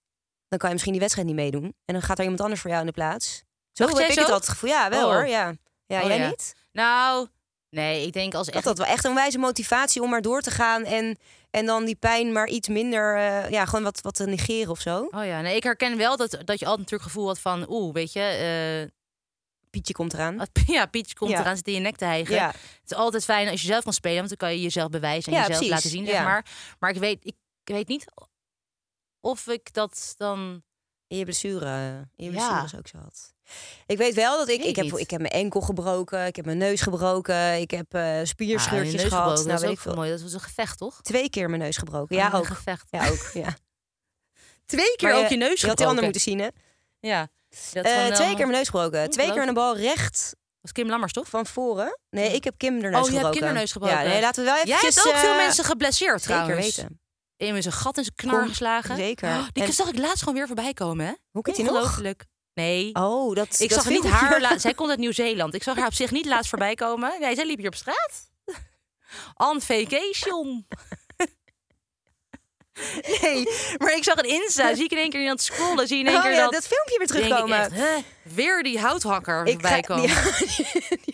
dan kan je misschien die wedstrijd niet meedoen. En dan gaat er iemand anders voor jou in de plaats. Zo Dacht heb jij ik zo? het altijd gevoel. Ja, wel Oh. hoor. Ja, ja Oh, jij ja. niet? Nou, nee, ik denk als Ik had echt... dat wel echt een wijze motivatie om maar door te gaan. En, en dan die pijn maar iets minder, eh, ja, gewoon wat, wat te negeren of zo. Oh ja, nee, ik herken wel dat, dat je altijd natuurlijk gevoel had van... Oeh, weet je, eh, Pietje komt eraan. wat- ja, Pietje komt Ja. eraan, zit in je nek te hijgen. Ja. Het is altijd fijn als je zelf kan spelen, want dan kan je jezelf bewijzen en Ja, jezelf precies. laten zien, zeg Ja. maar. Maar ik weet, ik, ik weet niet of ik dat dan... In je blessure, in je Ja. blessures ook zo had. Ik weet wel dat ik, Weet ik, heb, niet. ik heb mijn enkel gebroken, ik heb mijn neus gebroken, ik heb eh Ah, je spierscheurtjes neus gehad. gebroken, Nou, dat is weet ik ook veel. mooi. Ah, Dat was een gevecht, toch? Twee keer mijn neus gebroken. Ja, Een ook. gevecht. Ja, ook. Ja. Twee keer Maar ook je neus Je had die ander moeten zien, hè? Ja. Dat Eh, gewoon, twee eh, keer mijn neus gebroken. Twee keer geloof een bal recht Was Kim Lammers, toch? van voren. Nee, ik heb Kim de neus Oh, je gebroken. hebt Kim haar neus gebroken. Ja, nee, laten we wel even Jij hebt ook veel mensen geblesseerd, eh, zeker trouwens. weten. In met zijn gat in zijn knar Kom, geslagen. zeker. Oh, die En- zag ik laatst gewoon weer voorbij komen, hè? Hoe kent hij nog? Ongelooflijk. Nee. Oh, dat ik dat zag niet filmpje. haar... la- Zij komt uit Nieuw-Zeeland. Ik zag haar op zich niet laatst voorbij komen. Nee, zij liep hier op straat. On vacation. nee, maar ik zag een Insta. Zie ik in één keer iemand scrollen. Zie je in één Oh keer ja, dat... dat filmpje weer denk ik terugkomen. echt, hè? Weer die houthakker Ik voorbij ga- komen.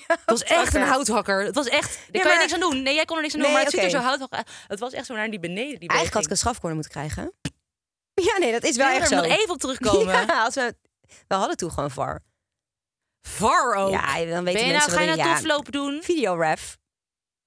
Ja, Het was echt een houthakker. Het was echt. Daar kan maar- je niks aan doen. Nee, jij kon er niks aan doen. Nee, maar het ziet oké. er zo houthakker uit. Het was echt zo naar die beneden. Die Eigenlijk had ik een strafcorner moeten krijgen. Ja, nee, dat is wel echt zo. er nog even op terugkomen. Ja, als we, we hadden toen gewoon VAR. Var ook. Ja, dan weten ben je nou, mensen ga je wel nou dat- ja, toflopen doen? Videoref.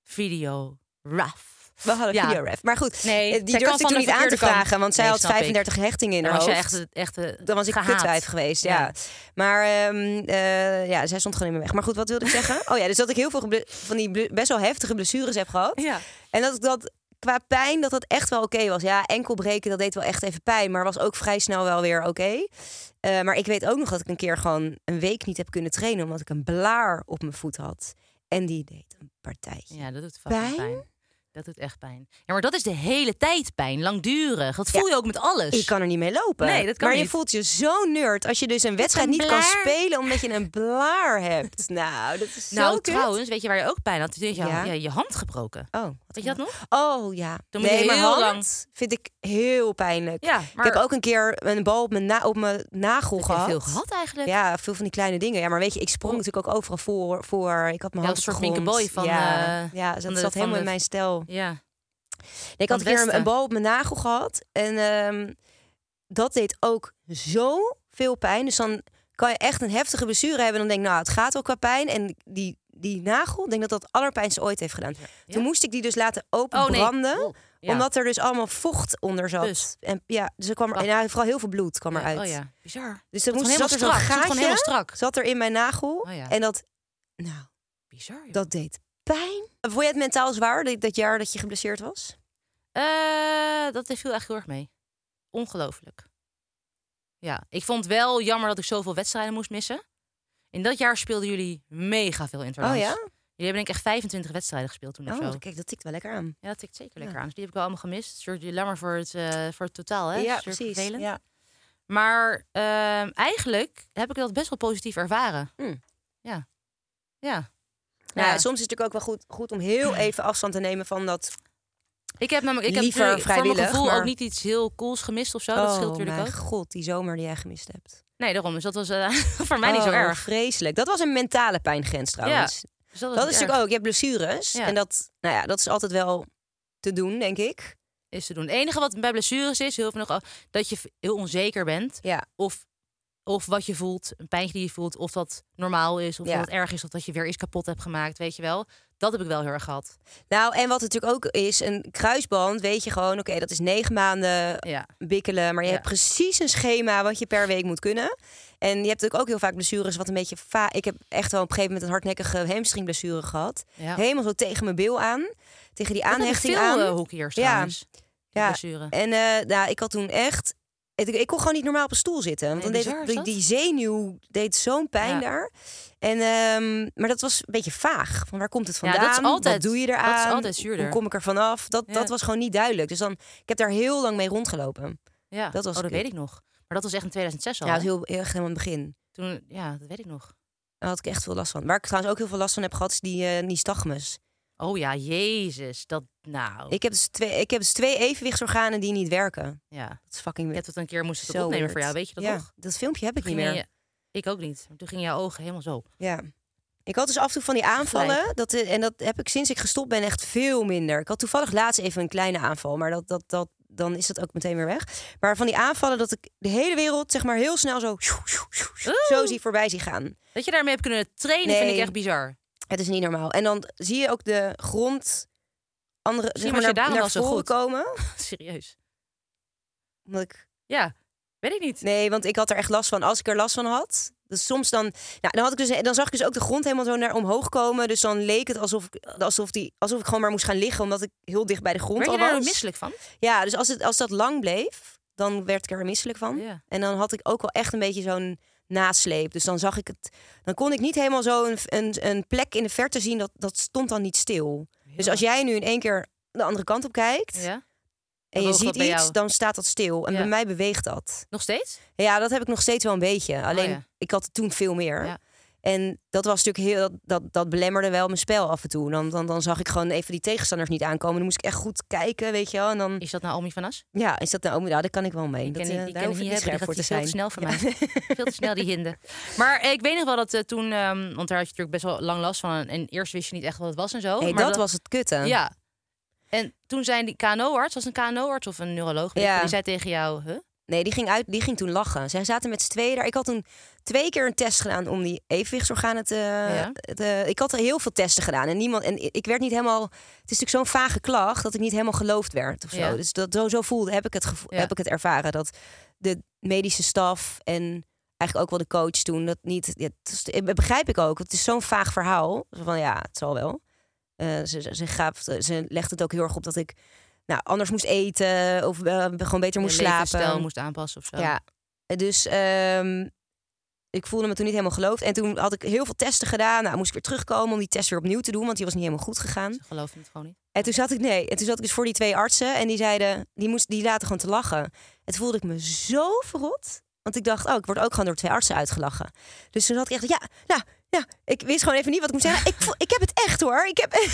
Video. Raf. We hadden Ja. videoref. Maar goed, Nee, eh, zij die kwam durfde ik van toen de niet aan te verkeerde kant. vragen. Want zij Nee, had snap ik. 35 hechtingen in Dan haar was je hoofd. echt, echt eh, Dan was ik gehaat. kutwijf geweest, ja. Ja. Maar ehm, eh, ja, zij stond gewoon in mijn weg. Maar goed, wat wilde ik zeggen? Oh ja, dus dat ik heel veel geble- van die ble- best wel heftige blessures heb gehad. Ja. En dat ik dat qua pijn, dat dat echt wel oké was. Ja, enkel breken, dat deed wel echt even pijn. Maar was ook vrij snel wel weer oké. Eh, maar ik weet ook nog dat ik een keer gewoon een week niet heb kunnen trainen... omdat ik een blaar op mijn voet had. En die deed een partijtje. Ja, dat doet fucking Pijn? pijn. Dat doet echt pijn. Ja, maar dat is de hele tijd pijn. Langdurig. Dat voel je ook met alles. Ik kan er niet mee lopen. Dus Nee, dat kan maar je niet. voelt je zo nerd als je dus een wedstrijd niet kan blaar. spelen... omdat je een blaar hebt. Nou, dat is nou, zo kut. trouwens, weet je waar je ook pijn had? Toen is je, Ja. ja, je hand gebroken. Oh, wat Weet je dat nog? Oh ja. Dan moet nee, je maar heel hand lang- vind ik heel pijnlijk. Ja, maar- Ik heb ook een keer een bal op mijn, na- op mijn nagel Heb je gehad. veel gehad eigenlijk? Ja, veel van die kleine dingen. Ja, maar weet je, ik sprong Oh. natuurlijk ook overal voor. voor. Ik had mijn Ja, hand een soort op de grond. Minke Boy van, Ja, eh, ja van dat de- van zat helemaal de- in mijn stijl. Ja. Nee, ik Van had een keer een, Westen. een bal op mijn nagel gehad. En ehm, dat deed ook zo veel pijn. Dus dan kan je echt een heftige blessure hebben. En dan denk ik, nou, het gaat wel qua pijn. En die, die nagel, ik denk dat dat het allerpijnste ooit heeft gedaan. Toen moest ik die dus laten Oh, nee. openbranden. Oh, ja. Omdat er dus allemaal vocht onder zat. Dus. En ja, dus er kwam er, en ja, vooral heel veel bloed kwam eruit. Oh ja, bizar. Dus er Dat moest is zat gewoon helemaal strak. Het er zo'n is gewoon gaatje helemaal strak. zat er in mijn nagel. Oh ja. En dat, nou, Bizar. joh. dat deed pijn. Vond je het mentaal zwaar, dat, dat jaar dat je geblesseerd was? Eh, dat viel echt heel erg mee. Ongelooflijk. Ja, ik vond wel jammer dat ik zoveel wedstrijden moest missen. In dat jaar speelden jullie mega veel interlands. Oh ja? Jullie hebben denk ik echt 25 wedstrijden gespeeld toen of Oh, zo. kijk, dat tikt wel lekker aan. Ja, dat tikt zeker lekker aan. Dus die heb ik wel allemaal gemist. Het is natuurlijk jammer voor het, eh, voor het totaal, hè? Ja, Het is natuurlijk precies. vervelend. Ja. Maar ehm, eigenlijk heb ik dat best wel positief ervaren. Hmm. Ja. Ja. Nou, Ja. soms is het natuurlijk ook wel goed, goed om heel even afstand te nemen van dat. Ik heb namelijk ik heb Liever natuurlijk voor mijn vrijwillig, gevoel maar- Oh, ook niet iets heel cools gemist of zo. Oh, dat scheelt natuurlijk mijn ook. god, die zomer die jij gemist hebt. Nee, daarom. Dus dat was eh, voor mij niet zo Oh, erg. Vreselijk. Dat was een mentale pijngrens trouwens. Dus dat was niet dat is erg. natuurlijk ook. Je hebt blessures. Ja. En dat, nou ja, dat is altijd wel te doen, denk ik. is te doen. Het enige wat bij blessures is, heel veel nog, dat je heel onzeker bent. Ja. Of, of wat je voelt, een pijntje die je voelt, of dat normaal is, of Ja. dat het erg is, of dat je weer iets kapot hebt gemaakt, weet je wel. Dat heb ik wel heel erg gehad. Nou, en wat het natuurlijk ook is, een kruisband weet je gewoon, oké, dat is negen maanden Ja. bikkelen. Maar je Ja. hebt precies een schema wat je per week moet kunnen. En je hebt natuurlijk ook heel vaak blessures wat een beetje... Va ik heb echt wel op een gegeven moment een hardnekkige hamstringblessure gehad. Ja. Helemaal zo tegen mijn bil aan. Tegen die aanhechting dat hebben veel aan. eh, hockeyers Ja. trouwens. die Ja. Blessure. En eh, nou, ik had toen echt... Ik, ik kon gewoon niet normaal op een stoel zitten. Want Nee, dan bizar deed is dat. het- die, die zenuw deed zo'n pijn Ja. daar. En, ehm, maar dat was een beetje vaag. Van waar komt het Ja, dat vandaan? is altijd- Wat doe je dat is eraan? altijd zuurder. Hoe kom ik er vanaf? Dat, Ja. dat was gewoon niet duidelijk. Dus dan, ik heb daar heel lang mee rondgelopen. Ja. dat was oh, dat kut. weet ik nog. Maar dat was echt in 2006 al. Ja, hè? dat heel, heel erg helemaal in het begin. Toen, ja, dat weet ik nog. Daar had ik echt veel last van. Waar ik trouwens ook heel veel last van heb gehad, is die eh nystagmus. Oh ja, jezus. Dat, nou, Ik heb, dus twee, ik heb dus twee evenwichtsorganen die niet werken. ja. Dat is fucking Je hebt het een keer moest het opnemen weird. voor jou, weet je dat ja, nog? dat filmpje heb ik niet Gingen meer. je- ik ook niet. Toen gingen jouw ogen helemaal zo. Ja. Ik had dus af en toe van die aanvallen. Dat, eh, en dat heb ik sinds ik gestopt ben echt veel minder. Ik had toevallig laatst even een kleine aanval. Maar dat, dat, dat, dan is dat ook meteen weer weg. Maar van die aanvallen dat ik de hele wereld zeg maar heel snel zo... Zo Oeh. zie voorbij zie gaan. Dat je daarmee hebt kunnen trainen Nee. vind ik echt bizar. Het is niet normaal. En dan zie je ook de grond andere, zeg maar was je naar, daarom naar al zo voren goed. komen. Serieus. Omdat ik, Ja, weet ik niet. nee, want ik had er echt last van als ik er last van had. Dus soms dan, nou, dan, had ik dus, dan zag ik dus ook de grond helemaal zo naar omhoog komen. Dus dan leek het alsof ik, alsof die, alsof ik gewoon maar moest gaan liggen. Omdat ik heel dicht bij de grond Werd je al daar was. misselijk van? Ja, dus als, het, als dat lang bleef, dan werd ik er misselijk van. Ja. En dan had ik ook wel echt een beetje zo'n nasleep. Dus dan zag ik het, dan kon ik niet helemaal zo een, een, een plek in de verte zien. Dat, dat stond dan niet stil. Dus als jij nu in één keer de andere kant op kijkt Ja. en je bewoog ziet dat bij iets, jou? dan staat dat stil. En Ja. bij mij beweegt dat. Nog steeds? Ja, dat heb ik nog steeds wel een beetje. Alleen Oh ja. ik had het toen veel meer. Ja. En dat was natuurlijk heel, dat, dat, dat belemmerde wel mijn spel af en toe. Dan, dan, dan zag ik gewoon even die tegenstanders niet aankomen. Dan moest ik echt goed kijken, weet je wel. En dan Is dat nou Omi van As? ja, is dat nou ook? Ja, daar kan ik wel mee. Ik dat, ken eh, die, die daar ken ik hoef niet ik niet hebben. scherp Dat voor is te veel te snel zijn. voor mij. veel te snel die hinden. Maar eh, ik weet nog wel dat eh, toen, ehm, want daar had je natuurlijk best wel lang last van. En eerst wist je niet echt wat het was en zo. Hey, Oh, maar dat, was eh. het kutte. Ja. En toen zijn die KNO-arts, was het een KNO-arts of een neuroloog, weet ik Ja. veel, die zei tegen jou, huh? Nee, die ging, uit, die ging toen lachen. Zij zaten met z'n tweeën daar. Ik had toen twee keer een test gedaan om die evenwichtsorganen te, Ja. te- Ik had er heel veel testen gedaan. En, niemand, en ik werd niet helemaal... Het is natuurlijk zo'n vage klacht dat ik niet helemaal geloofd werd of zo. Ja. Dus dat, zo, zo voelde, heb ik, het gevo- Ja. heb ik het ervaren. Dat de medische staf en eigenlijk ook wel de coach toen dat niet... Ja, het is- dat begrijp ik ook. want Het is zo'n vaag verhaal. Zo Van ja, het zal wel. Eh, ze, ze, ze, gaf, ze legde het ook heel erg op dat ik... Nou, anders moest eten of eh, gewoon beter moest Je levensstijl slapen. moest aanpassen of zo. Ja, en dus ehm, ik voelde me toen niet helemaal geloofd. En toen had ik heel veel testen gedaan. Nou, moest ik weer terugkomen om die test weer opnieuw te doen, want die was niet helemaal goed gegaan. Ze geloofden het gewoon niet. En toen zat ik, nee, en toen zat ik dus voor die twee artsen en die zeiden, die, moest, die laten gewoon te lachen. En toen voelde ik me zo verrot, want ik dacht, oh, ik word ook gewoon door twee artsen uitgelachen. Dus toen had ik echt, ja, nou, ja, ik wist gewoon even niet wat ik moest zeggen. Ik, voel, ik heb het echt hoor, ik heb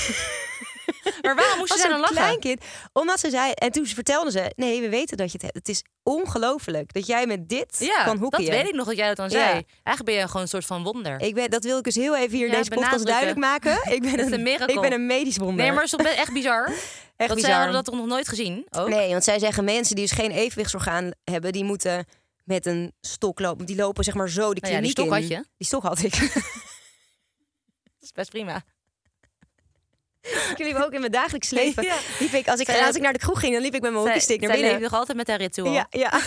Maar waarom moesten als ze dan een lachen? kleinkind. Omdat ze zei, en toen vertelden ze, nee, we weten dat je het hebt. Het is ongelooflijk dat jij met dit Ja, kan hoekje. dat weet ik nog dat jij dat dan Ja. zei. Eigenlijk ben je gewoon een soort van wonder. Ik ben, dat wil ik dus heel even hier in Ja, deze podcast duidelijk benadrukken. maken. Ik ben, is een miracle. ik ben een medisch wonder. Nee, maar het is toch best echt bizar. echt Want zij bizar. hadden dat toch nog nooit gezien? Oh, Ook? Nee, want zij zeggen mensen die dus geen evenwichtsorgaan hebben, die moeten met een stok lopen. Die lopen zeg maar zo de Nou ja, die kliniek stok in. had je. Die stok had ik. Dat is best prima. ik liep ook in mijn dagelijks leven. Ja. Liep ik, als, ik, Zij- als ik naar de kroeg ging, dan liep ik met mijn Zij- hockeystick naar zij binnen. leeft nog altijd met haar ritueel. Ja, ja.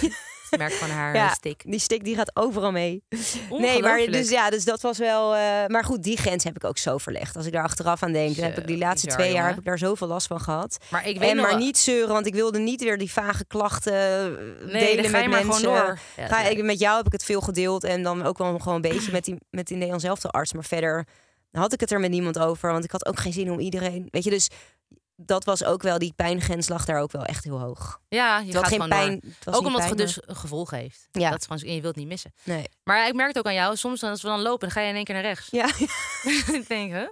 Het merk van haar Ja. eh, stick. Die stick die gaat overal mee. Nee, maar Ongelooflijk. dus ja, dus dat was wel. eh, maar goed, die grens heb ik ook zo verlegd. Als ik daar achteraf aan denk, dan heb ik die Zo, laatste bizar, twee jaar jongen. heb ik daar zoveel last van gehad. Maar ik weet En nog maar wel- niet zeuren, want ik wilde niet weer die vage klachten eh, Nee, delen dan ga met je maar mensen. gewoon door. Ja, Ga, dat ik, met jou heb ik het veel gedeeld en dan ook wel gewoon een beetje met die, met die Nederlands zelfde arts. Maar verder had ik het er met niemand over, want ik had ook geen zin om iedereen. Weet je, dus dat was ook wel, die pijngrens lag daar ook wel echt heel hoog. Ja, je Het was gaat geen gewoon door. pijn, het was Ook niet omdat het pijn, dus een gevolg heeft. Ja. Dat is gewoon, en je wilt het niet missen. Nee. Maar ik merk het ook aan jou, soms dan, als we dan lopen, dan ga je in één keer naar rechts. Ja. ik denk, hè?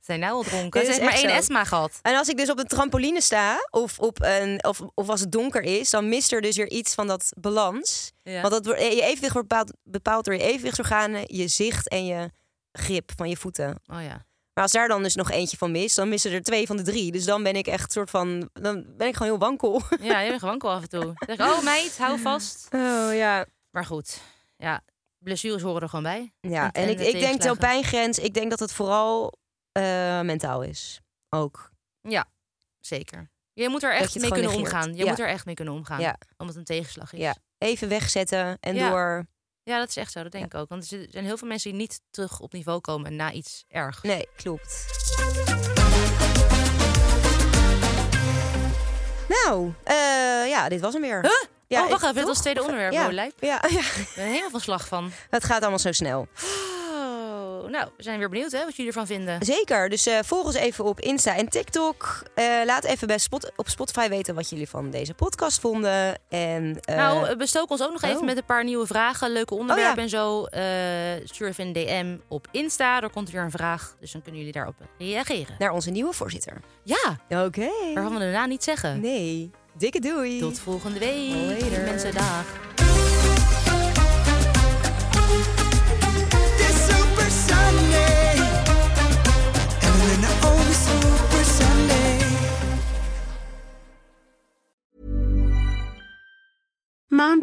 Zijn nou al dronken? Ze Dit is heeft maar echt één zo. Esma gehad. En als ik dus op een trampoline sta, of, op een, of, of als het donker is, dan mist er dus weer iets van dat balans. Ja. Want dat, wordt- eh, je evenwicht wordt bepaald, bepaald door je evenwichtsorganen, je zicht en je grip van je voeten. Oh ja. Maar als daar dan dus nog eentje van mist, dan missen er twee van de drie. Dus dan ben ik echt soort van, dan ben ik gewoon heel wankel. Ja, je bent gewoon wel af en toe. Zeg, oh meid, hou vast. Oh ja. Maar goed, ja, blessures horen er gewoon bij. Ja, en, en ik, de ik denk zo'n tegenslagen. pijngrens, ik denk dat het vooral eh, mentaal is. Ook. Ja, zeker. Je moet er Dat echt je mee het gewoon kunnen negeert. omgaan. Je Ja. moet er echt mee kunnen omgaan. Ja. Omdat het een tegenslag is. Ja. Even wegzetten en Dus- Ja. door. Ja, dat is echt zo. Dat denk ik ook. Want er zijn heel veel mensen die niet terug op niveau komen na iets erg. Nee, klopt. Nou, eh, ja, dit was hem weer. Ja, oh, wacht ik- even. Dit was het tweede onderwerp. Ja, Oh, lijp. ja, ja, Ik ben helemaal van slag van. het gaat allemaal zo snel. Oh, nou, we zijn weer benieuwd hè, wat jullie ervan vinden. Zeker, dus eh, volg ons even op Insta en TikTok. Eh, laat even bij Spot, op Spotify weten wat jullie van deze podcast vonden. En, eh, nou, eh, bestook ons ook nog oh. even met een paar nieuwe vragen, leuke onderwerpen en zo. Eh, stuur even een DM op Insta, daar komt weer een vraag. Dus dan kunnen jullie daarop reageren. naar onze nieuwe voorzitter. Ja, Oké. waarvan we daarna niet zeggen. Nee, dikke doei. Tot volgende week. Later. Mensen, dag. This Super Sunday. Evelyn on Super Sunday. Mom